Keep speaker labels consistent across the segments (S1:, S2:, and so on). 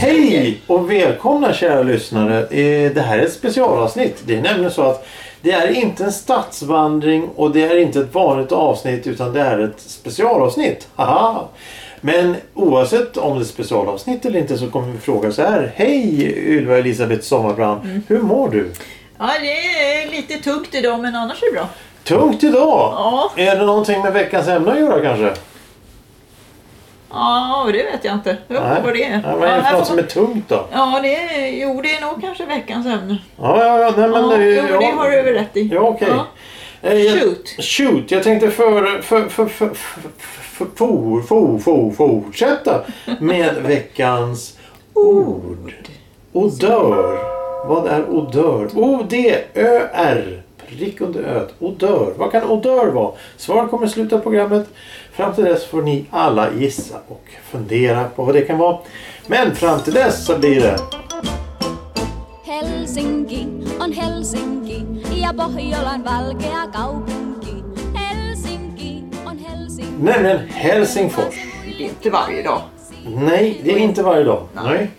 S1: Hej och välkomna kära lyssnare. Eh, Det här är ett specialavsnitt. Det är nämligen så att det är inte en stadsvandring och det är inte ett vanligt avsnitt utan det är ett specialavsnitt. Haha! Men oavsett om det är ett specialavsnitt eller inte så kommer vi fråga så här. Hej Ylva Elisabeth Sommarbrand.
S2: Mm.
S1: Hur mår du?
S2: Ja, det är lite tungt idag men annars är det bra.
S1: Tungt idag!
S2: Ja.
S1: Är det någonting med veckans ämne att göra kanske?
S2: Ja, det vet jag inte. Jag vet inte vad det är.
S1: Nej, vad är det för
S2: här
S1: något
S2: får
S1: som är tungt då?
S2: man- ja, det är... Jo, det är nog kanske veckans ämne.
S1: Ja, ja, ja. Nej, men,
S2: ja,
S1: eh,
S2: jo,
S1: ja.
S2: det har du väl rätt i.
S1: Ja, okej. Eh, jag-
S2: Shoot.
S1: Shoot, jag tänkte för, för, för, för, för, för, for, for, for, fortsätta med veckans ord. Odör. Vad är odör? O-D-Ö-R. Prick under öet. Odör. Vad kan odör vara? Svar kommer i slutet av programmet. Fram till dess får ni alla gissa och fundera på vad det kan vara. Men fram till dess så blir det...
S3: Helsinki on Helsinki ja Pohjolan valkea kaupunki. Helsinki on Helsinki.
S1: Nämligen Helsingfors.
S2: Det är inte varje dag.
S1: Nej, det är inte varje dag.
S2: Nej.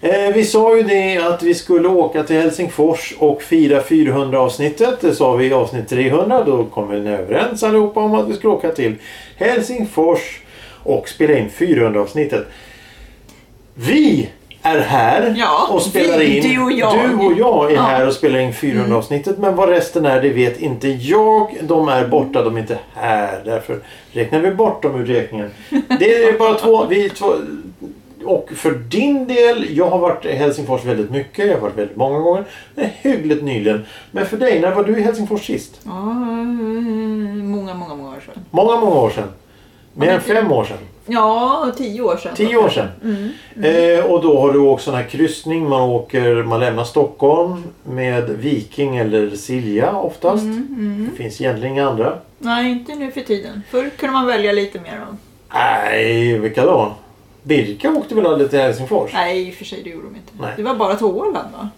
S1: Eh, vi sa ju det att vi skulle åka till Helsingfors och fira 400-avsnittet. Det sa vi i avsnitt 300. Då kom vi överens allihopa om att vi skulle åka till Helsingfors och spela in 400-avsnittet. Vi är här
S2: Ja,
S1: och spelar
S2: vi,
S1: in.
S2: du och jag.
S1: Du och jag är
S2: Ja.
S1: här och spelar in 400-avsnittet. Men vad resten är, det vet inte jag. De är borta, de är inte här. Därför räknar vi bort dem ur räkningen. Det är bara två, vi två. Och för din del, jag har varit i Helsingfors väldigt mycket. Jag har varit väldigt många gånger. Men hyggligt nyligen. Men för dig, när var du i Helsingfors sist?
S2: Ja, eh, många, många, många år sedan.
S1: Många, många år sedan. Mer än fem år sedan.
S2: Ja, tio år sedan.
S1: Tio år sedan.
S2: Mm,
S1: Eh, och då har du åkt sån här kryssning. Man, åker, man lämnar Stockholm med Viking eller Silja oftast.
S2: Mm,
S1: Det finns egentligen inga andra.
S2: Nej, inte nu för tiden. Förr kunde man välja lite mer om.
S1: Nej, vilka då? Birka åkte väl aldrig till Helsingfors?
S2: Nej, i och för sig det gjorde de inte.
S1: Nej.
S2: Det var bara till Åland va?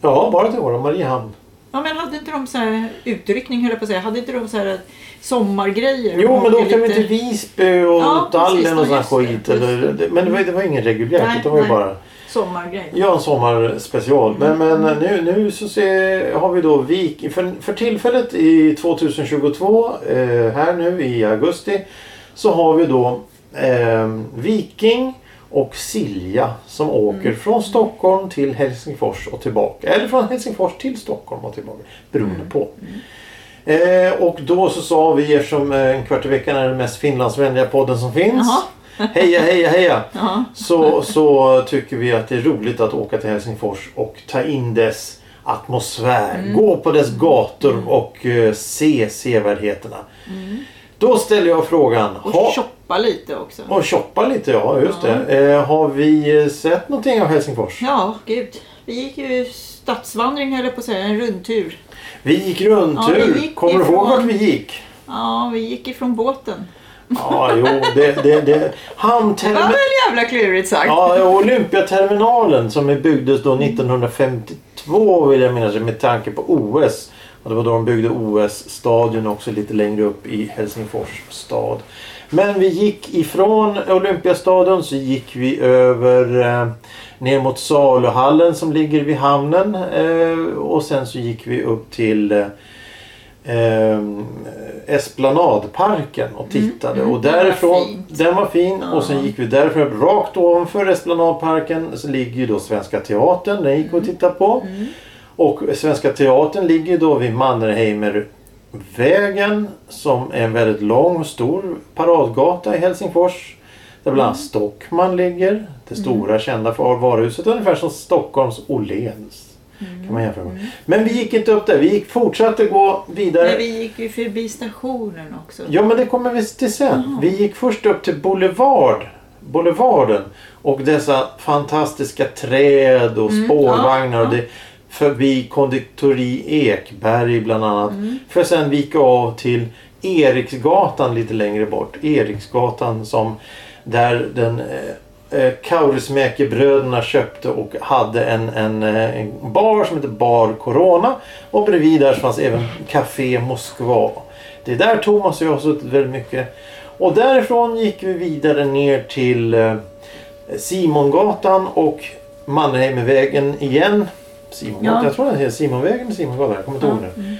S1: Ja, bara till Åre och Mariehamn.
S2: Ja men hade inte de så här utryckning höll jag på att säga. Hade inte de så här sommargrejer?
S1: Jo, men då
S2: Åkte
S1: åkte vi
S2: lite-
S1: till Visby och
S2: Ja, precis,
S1: Dallen
S2: då,
S1: och sån här
S2: just det,
S1: skit. Eller,
S2: just
S1: det- men det var, det var ingen reguljärt.
S2: Nej,
S1: det var ju
S2: nej.
S1: bara...
S2: Sommargrej.
S1: Ja, en sommarspecial. Men, men eh, nu, nu så ser, har vi då Vik... För, för tillfället i 2022, eh, här nu i augusti, så har vi då eh, Viking och Silja som åker från Stockholm till Helsingfors och tillbaka. Eller från Helsingfors till Stockholm och tillbaka. Beroende på. Eh, och då så sa vi eftersom eh, en kvart i veckan är den mest finlandsvänliga podden som finns. Heja, heja, heja!
S2: Ja.
S1: så, så tycker vi att det är roligt att åka till Helsingfors och ta in dess atmosfär.
S2: Mm.
S1: Gå på dess gator och eh, se sevärdheterna. Då ställer jag frågan.
S2: Mm. Och
S1: ha-
S2: shoppa lite också.
S1: och shoppa lite, ja just det. Eh, har vi eh, sett någonting av Helsingfors?
S2: Ja, gud. Vi gick ju stadsvandring höll jag på att säga. En rundtur.
S1: Vi gick rundtur.
S2: Ja, vi gick
S1: Kommer du ihåg
S2: ifrån-
S1: vart vi gick?
S2: Ja, vi gick ifrån båten.
S1: Ja, jo, det... det, det.
S2: Det var
S1: Hamntermen...
S2: väl jävla klurigt sagt.
S1: Ja, Olympiaterminalen som är- byggdes då 1952 vill jag minnas med tanke på OS. Och det var då de byggde OS-stadion också lite längre upp i Helsingfors stad. Men vi gick ifrån Olympiastadion så gick vi över eh, ner mot Saluhallen som ligger vid hamnen. Eh, och sen så gick vi upp till eh, eh, Esplanadparken och tittade. och
S2: var
S1: därifrån,
S2: fint.
S1: den var fin och sen gick vi därifrån rakt ovanför Esplanadparken så ligger ju då Svenska Teatern. Den gick vi och tittade på. Och Svenska Teatern ligger ju då vid Mannerheimervägen som är en väldigt lång och stor paradgata i Helsingfors. Där bland annat Stockman ligger. Det stora kända för varuhuset. Ungefär som Stockholms Åhléns. Kan man jämföra med. Men vi gick inte upp där. Vi gick, fortsatte gå vidare.
S2: Men vi gick ju förbi stationen också.
S1: Ja, men det kommer vi till sen. Vi gick först upp till Boulevard, Boulevarden och dessa fantastiska träd och spårvagnar. Och det, förbi konditori Ekberg bland annat. För att sen vika av till Eriksgatan lite längre bort. Eriksgatan som Där den eh, eh, Kaurismäkebröderna köpte och hade en, en, eh, en bar som hette Bar Corona. Och bredvid där fanns även Café Moskva. Det är där Thomas och jag har suttit väldigt mycket. Och därifrån gick vi vidare ner till eh, Simongatan och Mannheimervägen igen. Simongatan,
S2: Ja.
S1: Jag tror den heter Simonvägen eller Simongatan, jag kommer inte ihåg nu.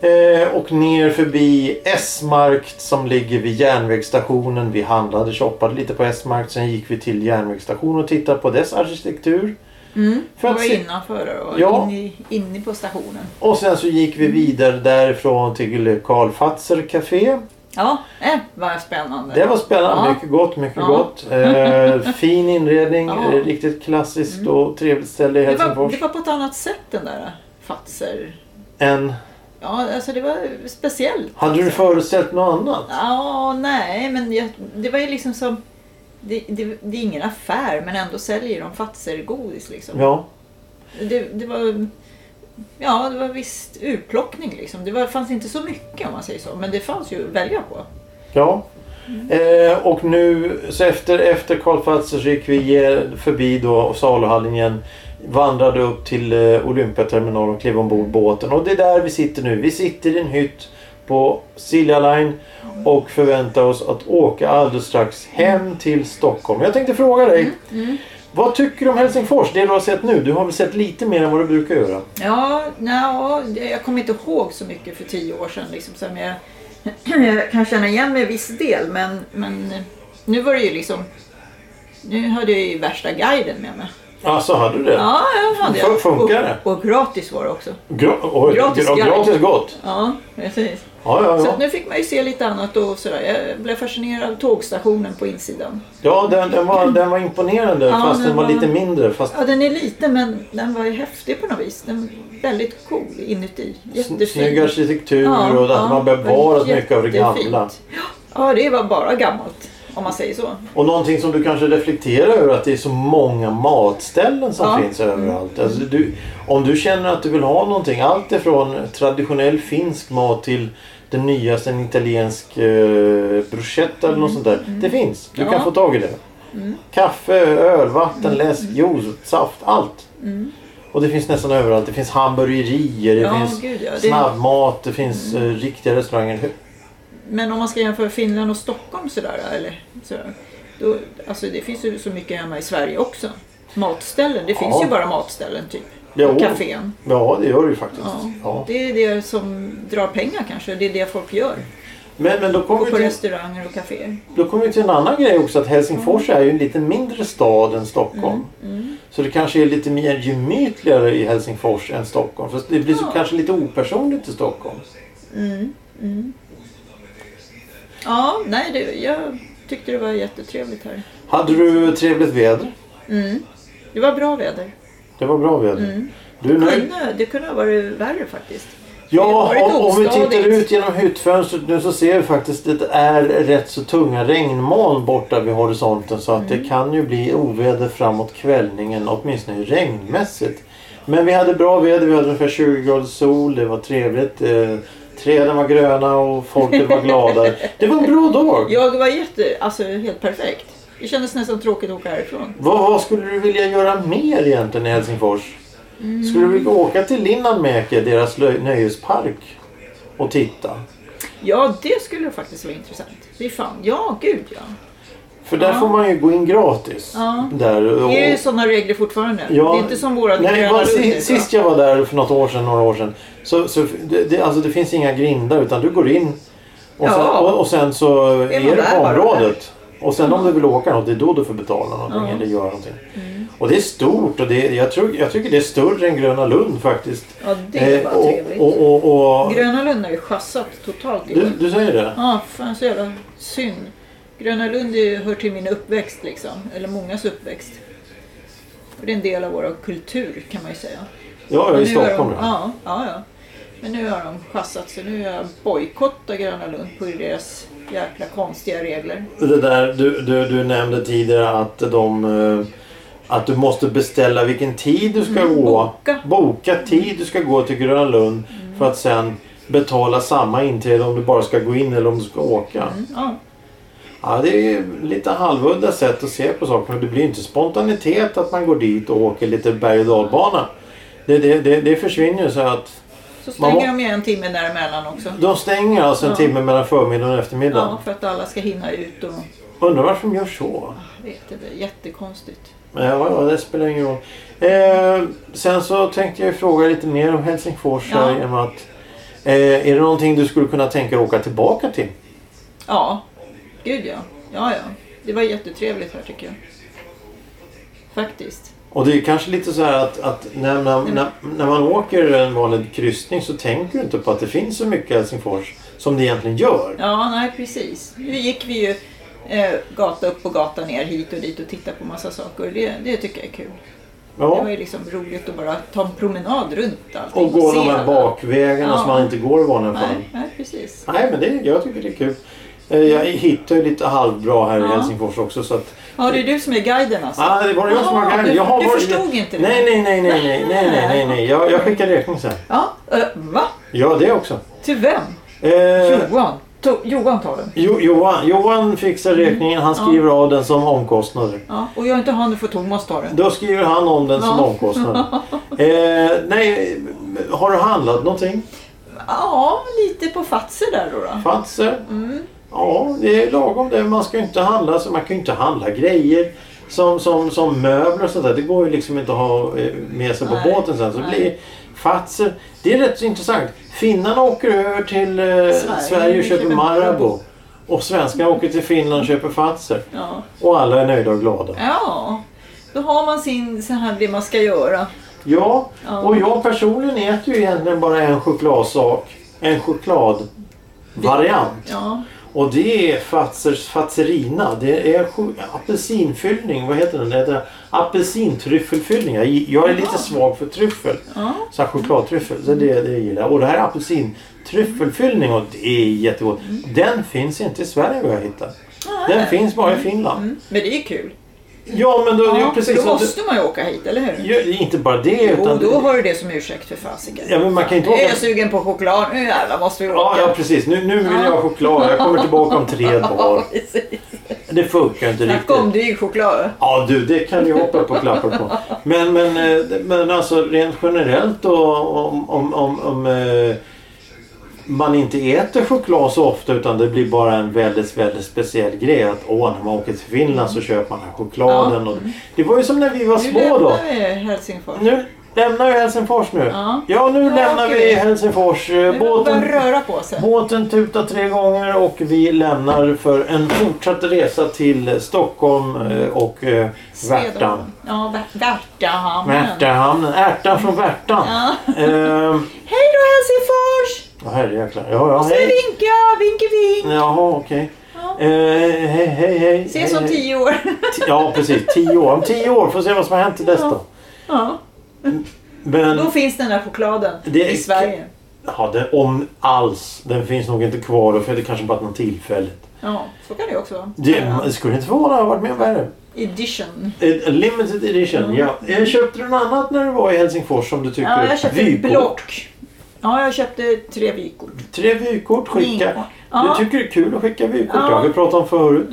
S1: Eh, och ner förbi S-markt som ligger vid järnvägsstationen. Vi handlade, shoppade lite på S-markt. Sen gick vi till järnvägsstationen och tittade på dess arkitektur.
S2: Mm.
S1: För
S2: För
S1: att
S2: var
S1: se-
S2: innanför och
S1: Ja.
S2: in i, inne på stationen.
S1: Och sen så gick vi vidare därifrån till Karl Fatzer Café.
S2: Ja, äh, vad spännande.
S1: Det var spännande.
S2: Ja.
S1: Mycket gott, mycket
S2: Ja.
S1: gott. Eh, fin inredning.
S2: Ja. Mm.
S1: eh, Riktigt klassiskt och trevligt ställe i
S2: det, var,
S1: Helsingfors.
S2: det var på ett annat sätt den där Fatser.
S1: En,
S2: Ja, alltså det var speciellt.
S1: hade du föreställt något annat?
S2: Ja, nej, men jag, det var ju liksom som... Det, det, det är ingen affär, men ändå säljer de Fatser-godis liksom.
S1: Ja.
S2: Det, det var... Ja, det var visst urplockning liksom. Det var, fanns inte så mycket om man säger så, men det fanns ju att välja på.
S1: Ja. Eh, och nu så efter, efter Karl Fatzer så gick vi ge- förbi då och saluhallen igen. Vandrade upp till eh, Olympiaterminalen och klev ombord båten. Och det är där vi sitter nu. Vi sitter i en hytt på Silja Line och förväntar oss att åka alldeles strax hem till Stockholm. Jag tänkte fråga dig.
S2: Mm,
S1: Vad tycker du om Helsingfors? Det du har sett nu. Du har väl sett lite mer än vad du brukar göra?
S2: Ja, nja, det- jag kommer inte ihåg så mycket för tio år sedan. Liksom, så här, men jag, jag kan känna igen mig i viss del, men, men nu var det ju liksom... Nu hade jag ju värsta guiden med mig.
S1: Ja, så hade du det?
S2: Ja, jag hade jag.
S1: Fun- funkar det?
S2: Och, och gratis var det också.
S1: Gra- oj,
S2: Gratis
S1: gra-
S2: guide.
S1: gratis gott?
S2: Ja, precis.
S1: Ja, ja,
S2: Så
S1: ja.
S2: att nu fick man ju se lite annat och sådär. Jag blev fascinerad av tågstationen på insidan.
S1: Ja, den, den, var, den var imponerande
S2: Ja,
S1: fast den
S2: den
S1: var,
S2: var-
S1: lite mindre. Fast
S2: Ja, den är liten men den var ju häftig på något vis. Den var väldigt cool inuti. Jättefin.
S1: snygg arkitektur och att man bevarat mycket av det
S2: jättefint.
S1: gamla.
S2: Ja, det var bara gammalt om man säger så.
S1: Och någonting som du kanske reflekterar över att det är så många matställen som
S2: Ja. Mm.
S1: finns överallt. Alltså, du, om du känner att du vill ha någonting, allt ifrån traditionell finsk mat till den nyaste en italiensk eh, bruschetta eller något sånt där. Det finns. Du kan
S2: Mm. Ja. Mm.
S1: få tag i det. Kaffe, öl, vatten, läsk, juice, saft. Allt. Och det finns nästan överallt. Det finns hamburgerier, det
S2: Mm. Ja,
S1: finns
S2: gud, ja. Det- Mm.
S1: snabbmat, det finns eh, riktiga restauranger.
S2: Men om man ska jämföra Finland och Stockholm sådär, eller sådär, då, alltså det finns ju så mycket hemma i Sverige också. Matställen, det finns
S1: Ja.
S2: ju bara matställen typ.
S1: Jo.
S2: Och kafén.
S1: Ja, det gör det ju faktiskt.
S2: Ja.
S1: Ja.
S2: Det är det som drar pengar kanske, det är det folk gör.
S1: Men, men då kommer
S2: Går
S1: vi
S2: på
S1: till-
S2: restauranger och kaféer.
S1: Då kommer vi till en annan grej också att Helsingfors är ju en lite mindre stad än Stockholm. Så det kanske är lite mer gemytligare i Helsingfors än Stockholm. För det blir så,
S2: Ja.
S1: kanske lite opersonligt i Stockholm.
S2: Ja, nej, det, jag tyckte det var jättetrevligt här.
S1: Hade du trevligt väder?
S2: Det var bra väder.
S1: Det var bra väder. Du är nöjd?
S2: Kunde, det kunde ha varit värre faktiskt. Det har
S1: Ja,
S2: varit
S1: om, om vi tittar
S2: ostadigt.
S1: ut genom hyttfönstret nu så ser vi faktiskt att det är rätt så tunga regnmoln borta vid horisonten. Så att
S2: Mm.
S1: det kan ju bli oväder framåt kvällningen, åtminstone regnmässigt. Men vi hade bra väder, vi hade ungefär 20 grader sol, det var trevligt. Eh, träden var gröna och folket var glada. Det var en bra dag.
S2: Jag var jätte, alltså helt perfekt. Det kändes nästan tråkigt att åka härifrån.
S1: Vad, vad skulle du vilja göra mer egentligen i Helsingfors? Skulle
S2: Mm.
S1: du vilja åka till Linnanmäki, deras lö- nöjespark, och titta?
S2: Ja, det skulle faktiskt vara intressant. Det är fan, ja gud ja.
S1: För där
S2: Ja.
S1: får man ju gå in gratis.
S2: Ja.
S1: Där. Och,
S2: Det är ju sådana regler fortfarande.
S1: Ja.
S2: Det är inte som våra
S1: Nej,
S2: Gröna
S1: bara,
S2: Lund
S1: si,
S2: nu,
S1: sist
S2: va?
S1: jag var där för något år sedan, några år sedan. Så, så det, det, alltså, det finns inga grindar utan du går in och,
S2: Ja.
S1: sen, och, och sen så är,
S2: man
S1: du på
S2: där, bara
S1: området. Och sen om du vill åka något, det är då du får betala någonting eller göra någonting.
S2: Mm.
S1: Och det är stort och det, jag, tror, jag tycker det är större än Gröna Lund faktiskt. Eh,
S2: Ja, det var trevligt.
S1: och, och, och, och,
S2: Gröna Lund har ju chassat totalt.
S1: du,
S2: Ja,
S1: du säger det?
S2: ah, fan så jävla synd. Gröna Lund är ju, hör till min uppväxt liksom, eller mångas uppväxt. För det är en del av vår kultur kan man ju säga.
S1: Ja,
S2: Men
S1: i
S2: nu har
S1: Stockholm.
S2: de, ja. ja, ja. Men nu har de chassat så nu har jag bojkottat Gröna Lund på deras jäkla konstiga regler.
S1: Det där du, du, du nämnde tidigare att de eh, att du måste beställa vilken tid du ska gå.
S2: Mm, boka. Mm.
S1: boka tid du ska gå till Gröna Lund för att
S2: Mm.
S1: sen betala samma inträde om du bara ska gå in eller om du ska åka.
S2: Ja,
S1: Ja, det är lite halvudda sätt att se på saker. Det blir inte spontanitet att man går dit och åker lite berg och dalbana. Det, det, det, det försvinner ju så att
S2: Så
S1: Man må-
S2: stänger de ju en timme däremellan också.
S1: de stänger alltså en
S2: Ja.
S1: timme mellan förmiddagen och eftermiddagen.
S2: Ja, för att alla ska hinna ut och...
S1: Undrar varför de gör så?
S2: Jag vet inte, jättekonstigt.
S1: Men Ja, ja, det spelar ingen roll. Eh, sen så tänkte jag fråga lite mer om Helsingfors.
S2: Ja.
S1: här Genom att, eh, är det någonting du skulle kunna tänka dig åka tillbaka till?
S2: Ja, gud ja. Ja, ja. Det var jättetrevligt här tycker jag. Faktiskt.
S1: Och det är kanske lite så här att, att när, när,
S2: Mm.
S1: när, när man åker en vanlig kryssning så tänker du inte på att det finns så mycket Helsingfors som det egentligen gör.
S2: Ja, nej precis. Nu gick vi ju eh, gata upp och gata ner hit och dit och tittade på massa saker. och Det, det tycker jag är kul. Det
S1: Ja.
S2: var ju liksom roligt att bara ta en promenad runt allting.
S1: Och gå
S2: se
S1: de här
S2: alla.
S1: bakvägarna
S2: Ja.
S1: som man inte går vanligen på.
S2: Nej, nej precis.
S1: Nej, men det, jag tycker det är kul. Eh, Jag hittar ju lite halvbra här i
S2: Ja.
S1: Helsingfors också så att
S2: Ja, det är du som är guiden alltså.
S1: Ja, det var jag som var
S2: Jaha,
S1: guide.
S2: du-
S1: Jag har
S2: du
S1: varit-
S2: förstod inte det?
S1: Nej, nej, nej, nej, nej, nej, nej, nej, nej. Jag, jag skickar räkning sen.
S2: Ja, eh, va?
S1: Ja, det också.
S2: Till vem?
S1: Eh,
S2: Johan. To- Johan tar den.
S1: jo, Johan, Johan fixar
S2: Mm.
S1: räkningen. Han skriver av den som omkostnader.
S2: Ja, och jag inte han, nu får Thomas ta den.
S1: Då skriver han om den som
S2: Ja.
S1: omkostnader. Eh, nej, har du handlat någonting?
S2: Ja, lite på fatser där då. då.
S1: Fatser? Ja, det är lagom det. Man ska ju inte handla så. Man kan ju inte handla grejer som, som, som möbler och sånt där. Det går ju liksom inte att ha eh, med sig på
S2: Nej,
S1: båten sen. Så det
S2: nej.
S1: blir fatser. Det är rätt så intressant. Finnarna åker över till eh, Sverige, och köper Marabou. Och svenskarna åker till Finland och köper fatser.
S2: Ja.
S1: Och alla är nöjda och glada.
S2: ja, då har man sin, så här det man ska göra.
S1: Ja,
S2: Ja.
S1: och jag personligen äter ju egentligen bara en chokladsak. En chokladvariant.
S2: Ja,
S1: Och det är Fazers Fazerina. Det är sju- apelsinfyllning. Vad heter den? Det heter apelsintryffelfyllning. Jag, jag är lite svag för tryffel.
S2: ja.
S1: Så här chokladtryffel. Så det, det gillar jag. Och det här är apelsintryffelfyllning och det är jättegott.
S2: Mm.
S1: Den finns inte i Sverige vad jag hittar. Den finns bara i Finland.
S2: Mm. Men det är ju kul.
S1: Ja men då, ja,
S2: Ja,
S1: precis.
S2: då
S1: Och det-
S2: måste man ju åka hit, eller hur?
S1: Ja, inte bara det utan...
S2: Och då har du det som ursäkt för fasiken.
S1: Ja men man kan inte
S2: Nu är
S1: åka...
S2: jag sugen på choklad, nu jävlar måste vi åka.
S1: Ja, ja precis. Nu, nu vill jag ha choklad. Jag kommer tillbaka om tre dagar.
S2: precis.
S1: Det funkar inte riktigt.
S2: Snacka om dryg choklad.
S1: Ja du, det kan ju hoppa upp och klappa på. Men, men, eh, men alltså rent generellt då om, om, om, om eh, man inte äter choklad så ofta utan det blir bara en väldigt, väldigt speciell grej att åh, när man åker till Finland så köper man den här chokladen. Och, det var ju som när vi var
S2: Nu
S1: små då.
S2: lämnar vi Helsingfors.
S1: Nu lämnar vi Helsingfors nu.
S2: Ja.
S1: Ja, nu
S2: Ja,
S1: lämnar
S2: okej.
S1: vi Helsingfors. Eh,
S2: Nu
S1: Båten,
S2: börjar röra på sig.
S1: båten tutar tre gånger och vi lämnar för en fortsatt resa till Stockholm eh, och eh, Värtan.
S2: Ja, Värt- Värtahamnen.
S1: Värtahamnen. Ärtan från Värtan.
S2: Ja.
S1: Ehm,
S2: Hej då Helsingfors!
S1: Ja, herrejäklar. Ja, ja,
S2: Nu
S1: hej.
S2: vinkar vinke vink.
S1: Jaha, okej.
S2: Ja.
S1: Eh, hej, hej, hej.
S2: Ses
S1: Hej,
S2: om
S1: hej.
S2: tio år.
S1: Ti- Ja, precis. Tio år. Om tio år får vi se vad som har hänt till dess då.
S2: Ja,
S1: Men
S2: då finns den där chokladen
S1: Det-
S2: i Sverige.
S1: ja, den, om alls. Den finns nog inte kvar. och För det kanske bara är något tillfälligt.
S2: Ja, så kan det ju också vara.
S1: Det
S2: Ja.
S1: det skulle inte förvåna. Jag har varit med om värre.
S2: Edition.
S1: Eh, Limited edition. Ja. Eh, Köpte du något annat när du var i Helsingfors som du tycker
S2: Ja, jag köpte ett
S1: Vykort.
S2: block. Ja, jag köpte tre vykort.
S1: Tre vykort
S2: Vykort.
S1: skicka.
S2: Ja.
S1: Du tycker det är kul att skicka vykort.
S2: Ja.
S1: Det har vi pratat om förut.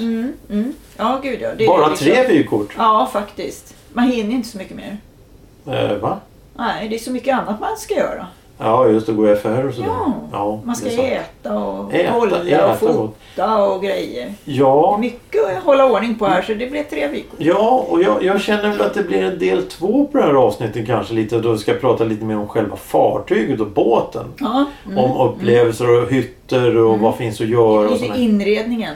S2: Ja, gud ja. det är
S1: Bara
S2: liksom-
S1: tre vykort?
S2: Ja, faktiskt. Man hinner inte så mycket mer.
S1: Eh, va?
S2: Nej, det är så mycket annat man ska göra.
S1: Ja, just det. Gå i affärer och sådär.
S2: Ja, man ska
S1: det är sant.
S2: äta och
S1: Äta,
S2: hålla
S1: äta
S2: och
S1: gott.
S2: fota och grejer.
S1: Ja,
S2: Mycket att hålla ordning på här så det blev tre vykort.
S1: ja och jag, jag känner väl att det blir en del två på det här avsnittet kanske lite. Då vi ska prata lite mer om själva fartyget och båten.
S2: Ja,
S1: Om upplevelser och hytter och vad finns att göra och
S2: Mm. lite
S1: sådär.
S2: inredningen.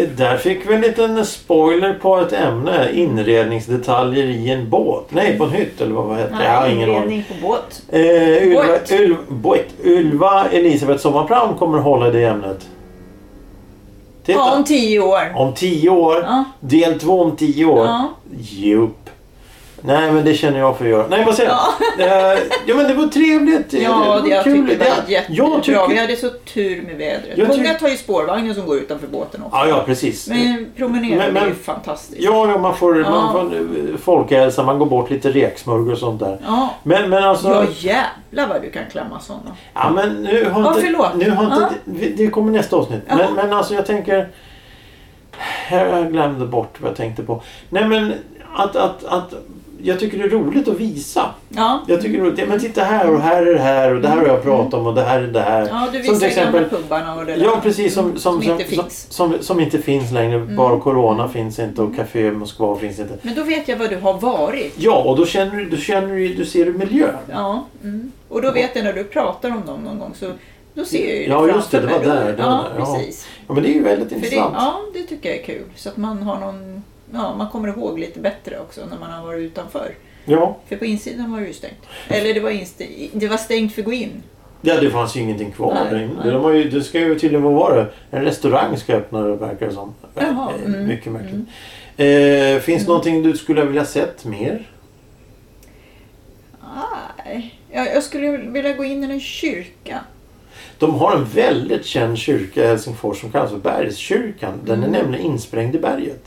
S1: Eh, Där fick vi en liten spoiler på ett ämne. Inredningsdetaljer i en båt. Nej, på en hytt eller vad, vad heter det? Jag har
S2: Nej,
S1: ingen aning.
S2: inredning på båt.
S1: Eh, Ylva,
S2: Båt.
S1: Ylva, båt. Ylva Elisabeth Sommarpram kommer att hålla i det ämnet. Titta.
S2: Ja, om tio år.
S1: Om tio år.
S2: Ja.
S1: Del två om tio år.
S2: Ja.
S1: Jupp. Nej men det känner jag för att göra. Nej vad säger
S2: Ja.
S1: jag? Eh, ja men det var trevligt.
S2: Ja, det jag tyckte det var jättebra.
S1: jag tycker,
S2: Vi hade så tur med vädret.
S1: Jag
S2: Många
S1: tycker-
S2: tar ju spårvagnen som går utanför båten också.
S1: Ja, ja precis.
S2: Men
S1: Men-
S2: promenera
S1: Mm. men-
S2: är ju fantastiskt.
S1: Ja, ja man får,
S2: Ja.
S1: Man får eh, folkhälsa, man går bort lite reksmörgås och sånt där.
S2: Ja.
S1: Men, men alltså...
S2: Ja jävlar vad du kan klämma sådana.
S1: Ja men nu har
S2: Ja,
S1: inte...
S2: förlåt.
S1: Nu har inte
S2: Ja.
S1: det, det kommer nästa avsnitt.
S2: Ja.
S1: Men, men alltså jag tänker... här jag glömde bort vad jag tänkte på. Nej men att, att, att jag tycker det är roligt att visa.
S2: Ja.
S1: Jag tycker det är roligt. Ja, men titta här och här är det här och det här har jag pratat om och det här är det här.
S2: Mm. Ja,
S1: som
S2: du visar
S1: till exempel,
S2: gamla pubbarna och det där. Mm.
S1: Ja precis som, som,
S2: som
S1: som,
S2: inte
S1: som,
S2: finns. Mm.
S1: som, som inte finns längre. Bar och Corona finns inte och Café Moskva finns inte.
S2: Men då vet jag vad du har varit.
S1: Ja och då känner du, du, känner, ju- du ser du miljön.
S2: Ja. Mm. Och då vet jag när du pratar om dem någon gång så då ser jag ju
S1: Ja, just det,
S2: framför
S1: det var
S2: mig.
S1: där, det var
S2: ja,
S1: där, ja.
S2: precis.
S1: Ja men det är ju väldigt
S2: För det,
S1: intressant.
S2: ja, det tycker jag är kul. Så att man har någon... Ja, man kommer ihåg lite bättre också när man har varit utanför.
S1: ja.
S2: För på insidan var det ju stängt. Eller det var, inste, det var stängt för att gå in.
S1: Ja, det fanns ju ingenting kvar.
S2: Nej,
S1: där inne.
S2: nej.
S1: De har ju, det ska ju tydligen vara var det. En restaurang ska öppna det verkar det som.
S2: Jaha,
S1: Eh,
S2: mm,
S1: Mycket märkligt. Eh, finns någonting du skulle vilja sett mer?
S2: Nej. Jag, jag skulle vilja gå in i en kyrka.
S1: De har en väldigt känd kyrka i Helsingfors som kallas för Bergskyrkan. Den är nämligen insprängd i berget.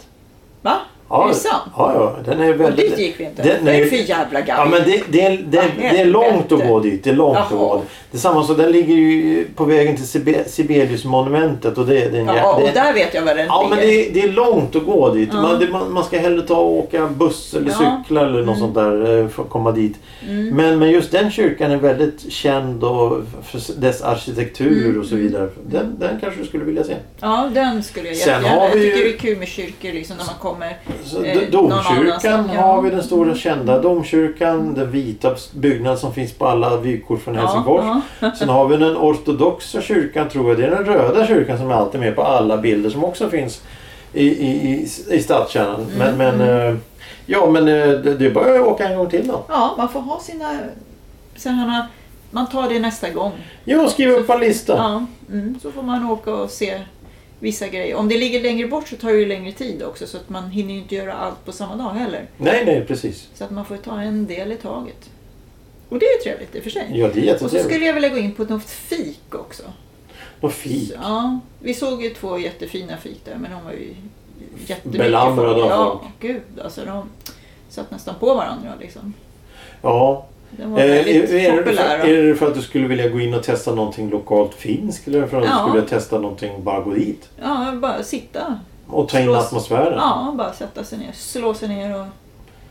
S2: Va? Mm. är det sant?
S1: Ja, ja. Den är
S2: Och
S1: väldigt...
S2: dit gick vi inte.
S1: Den,
S2: det är
S1: nej,
S2: ju för jävla
S1: Ja,
S2: gammalt.
S1: men det, det, är- det, är- det är långt att gå dit. Det är långt att gå
S2: Jaha.
S1: dit. Det är samma så den ligger ju på vägen till Sibe- Sibeliusmonumentet och det, det är en jä-
S2: Ja,
S1: det
S2: och
S1: är-
S2: där vet jag vad den
S1: Ja men
S2: ligger.
S1: det är, det är långt att gå dit.
S2: Ja.
S1: Man, det, man, man ska hellre ta och åka buss eller
S2: Ja. Mm.
S1: cykla eller något sånt där eh, för att komma dit. Men, men just den kyrkan är väldigt känd och för dess arkitektur
S2: Mm.
S1: och så vidare. Den, den kanske du skulle vilja se.
S2: Ja, den skulle jag
S1: Sen
S2: jättegärna.
S1: har vi
S2: Jag
S1: ju-
S2: tycker det är kul med kyrkor liksom när man kommer.
S1: Så
S2: Eh,
S1: d-
S2: någon
S1: domkyrkan
S2: annanstans, ja. Mm.
S1: har vi, den stora kända domkyrkan. Den vita byggnaden som finns på alla vykort från
S2: Ja,
S1: Helsingfors. Sen har vi den ortodoxa kyrkan tror jag. Det är den röda kyrkan som är alltid med på alla bilder som också finns i, i, i, i stadskärnan.
S2: Mm.
S1: Men, men, eh, ja, men eh, det, det är bara att åka en gång till då.
S2: Ja, man får ha sina sådana... Man tar det nästa gång.
S1: Jo, skriv upp en lista.
S2: Ja, mm, så får man åka och se vissa grejer. Om det ligger längre bort så tar det ju längre tid också så att man hinner ju inte göra allt på samma dag heller.
S1: Nej, nej, precis.
S2: Så att man får ta en del i taget. Och det är ju trevligt i och för sig.
S1: Ja, det är
S2: och så
S1: jättetrevligt.
S2: skulle jag vilja gå in på något fik också.
S1: Och fint.
S2: Ja, vi såg ju två jättefina fik där men de var ju jättemycket
S1: Belamrade av
S2: folk. Ja,
S1: folk.
S2: gud alltså. De satt nästan på varandra liksom.
S1: Ja.
S2: Den var
S1: Eh,
S2: väldigt
S1: är, är, det för,
S2: populär.
S1: är det för att du skulle vilja gå in och testa någonting lokalt finskt? Eller för att du
S2: Ja.
S1: skulle vilja testa någonting, bara gå dit?
S2: Ja, bara sitta.
S1: Och ta in
S2: Slås-
S1: atmosfären?
S2: Ja, bara sätta sig ner. Slå sig ner och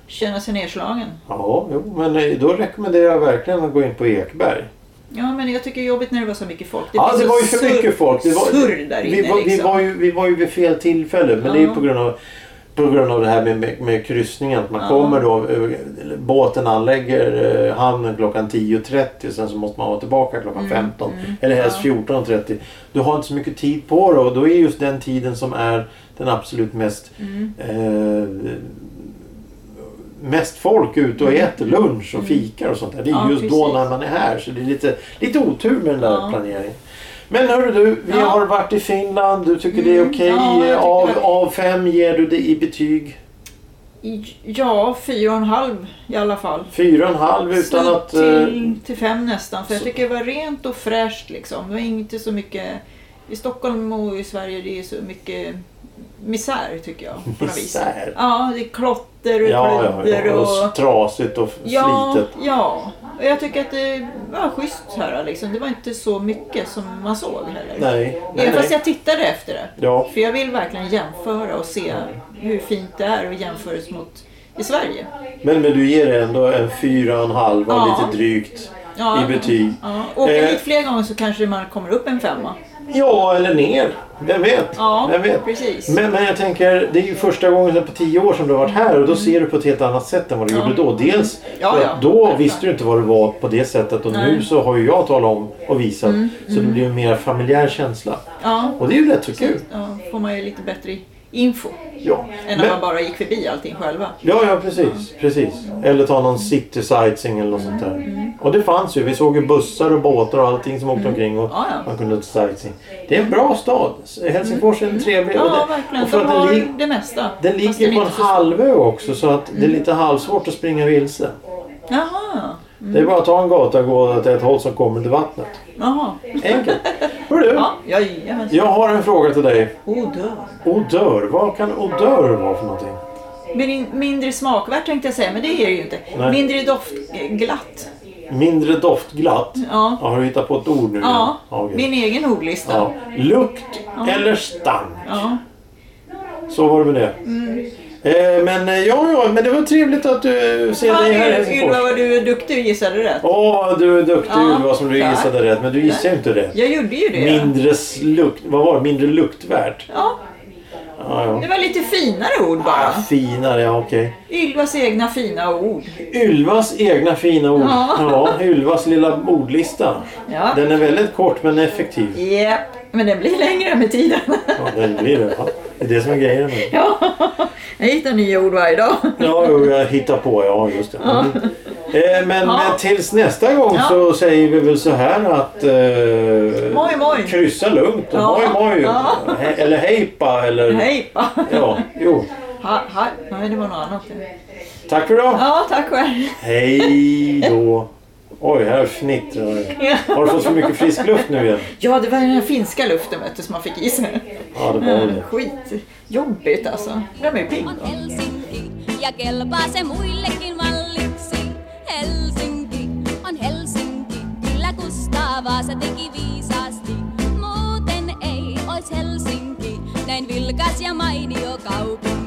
S2: känna sig nedslagen.
S1: Ja, jo, men eh, då rekommenderar jag verkligen att gå in på Ekberg.
S2: Ja, men jag tycker det är jobbigt när det var så mycket folk.
S1: ja,
S2: blir
S1: det
S2: så
S1: var ju för
S2: surr-
S1: mycket folk. Det var,
S2: surr där inne
S1: vi, var, vi,
S2: liksom.
S1: var ju, vi var ju vid fel tillfälle. Men det är ju
S2: Ja.
S1: på grund av, på grund av det här med, med, med kryssningen. Att man
S2: Ja.
S1: kommer då, eh, eller båten anlägger eh, hamnen klockan 10.30 sen så måste man vara tillbaka klockan
S2: Mm,
S1: 15. Eller helst 14.30. Du har inte så mycket tid på dig och då är just den tiden som är den absolut mest
S2: Mm.
S1: eh, mest folk ute och äter lunch och fikar och sånt där. Det är
S2: Mm. Ja,
S1: just då
S2: precis.
S1: när man är här så det är lite, lite otur med den där
S2: Ja.
S1: planeringen. Men hörru du, vi
S2: Ja.
S1: har varit i Finland. Du tycker det är
S2: Mm,
S1: okej.
S2: ja, jag tycker
S1: av,
S2: det.
S1: av fem ger du det i betyg?
S2: I- Ja, fyra och en halv i alla fall.
S1: Fyra och en halv utan
S2: Snudd
S1: att... eh,
S2: till, till fem nästan. För jag
S1: så-
S2: tycker det var rent och fräscht liksom. Det var inte så mycket... I Stockholm och i Sverige det är så mycket misär tycker jag. På något vis.
S1: Misär?
S2: Ja, det är klotter och
S1: Ja, ja,
S2: klutter
S1: ja.
S2: och...
S1: Och trasigt och
S2: Ja,
S1: slitet.
S2: ja. Och jag tycker att det var schysst här liksom. Det var inte så mycket som man såg heller.
S1: Nej. nej,
S2: Även fast
S1: nej.
S2: jag tittade efter det.
S1: Ja.
S2: För jag vill verkligen jämföra och se hur fint det är och jämföras mot i Sverige.
S1: Men, men du ger det ändå en fyra och en halv och
S2: Ja.
S1: lite drygt
S2: Ja.
S1: i betyg.
S2: Ja. Åka
S1: Eh.
S2: hit fler gånger så kanske man kommer upp en femma.
S1: Ja, eller ner. Vem vet?
S2: Ja,
S1: Vem vet?
S2: precis.
S1: Men, men jag tänker, det är ju första gången sedan på tio år som du har varit här och då ser du på ett helt annat sätt än vad du gjorde då. Dels
S2: Mm. Ja,
S1: för att
S2: ja.
S1: då visste du inte vad det var på det sättet och nu så har ju jag talat om och visat.
S2: Mm,
S1: Så det blir en mer familjär känsla.
S2: Ja,
S1: Och det är ju rätt så kul.
S2: då får man ju lite bättre info
S1: Ja,
S2: än när
S1: Men-
S2: man bara gick förbi allting själva.
S1: ja, ja precis, precis. Eller ta någon city sightseeing eller något sånt där. Och det fanns ju. Vi såg ju bussar och båtar och allting som åkte omkring och
S2: Mm. Ja, ja.
S1: man kunde ta sightseeing. Det är en bra stad. Helsingfors är en trevlig. och
S2: Mm. Ja,
S1: det-
S2: verkligen.
S1: och för
S2: De
S1: att den lig-
S2: har det mesta.
S1: Den
S2: Fast är
S1: ligger på en
S2: inte så- Mm.
S1: halvö också så att det är lite halvsvårt att springa vilse.
S2: Jaha.
S1: Det är bara att ta en gata och gå åt ett håll som kommer till vattnet.
S2: Jaha.
S1: Enkelt. Hör du,
S2: Ja, jajamensan.
S1: jag har en fråga till dig.
S2: Odör.
S1: Odör, vad kan odör vara för någonting?
S2: Min, mindre smakvärt tänkte jag säga, men det är det ju inte.
S1: Nej.
S2: Mindre doftglatt.
S1: Mindre doftglatt?
S2: Ja.
S1: Har du hittat på ett ord nu? igen?
S2: Ja,
S1: okej.
S2: min egen ordlista.
S1: ja. Lukt eller stank?
S2: Ja.
S1: Så var det med det.
S2: Mm.
S1: Eh, men eh, ja, ja, men det var trevligt att du ser
S2: Ja,
S1: dig här i
S2: Ylva
S1: Helsingfors.
S2: vad du är duktig och gissade rätt.
S1: Åh, du är duktig
S2: Ja,
S1: Ylva som du
S2: tack.
S1: gissade rätt. Men du gissade ju inte rätt.
S2: Jag gjorde ju det.
S1: Mindre lukt, vad var det? Mindre luktvärt?
S2: Ja,
S1: Ja, ja.
S2: det var lite finare ord bara.
S1: Ah, finare, ja okej.
S2: Ylvas egna fina ord.
S1: Ylvas egna fina ord.
S2: Ja.
S1: Ja, Ylvas lilla ordlista.
S2: Ja.
S1: Den är väldigt kort men effektiv.
S2: Japp, men den blir längre med tiden.
S1: Ja, den blir det. Ja. Det är det som är grejen. med det.
S2: Ja, jag hittar nya ord varje dag.
S1: Ja, jo, jag hittar på. Ja, just det. Mm. Eh, men,
S2: Ja.
S1: men tills nästa gång
S2: Ja.
S1: så säger vi väl så här att... Eh,
S2: Moj, moj.
S1: Kryssa lugnt. och
S2: Ja.
S1: Moj, moj.
S2: Ja.
S1: He- eller hejpa. Eller,
S2: Hej!
S1: Ja, jo.
S2: Ha, ha. Nej, det var något annat.
S1: Tack för idag.
S2: Ja, tack själv.
S1: Hej då. Oj, här fnittrar det. Har du fått för mycket frisk luft nu igen?
S2: Ja, det var den här finska luften vet du, som man fick i sig.
S1: Ja, det var det.
S2: Skitjobbigt alltså. De är pigg.
S3: on Helsinki ja kelpaa se muillekin malliksi. Helsinki on Helsinki, kyllä Kustavaa se teki viisaasti. Muuten ei ois Helsinki, näin vilkas ja mainio kaupunki.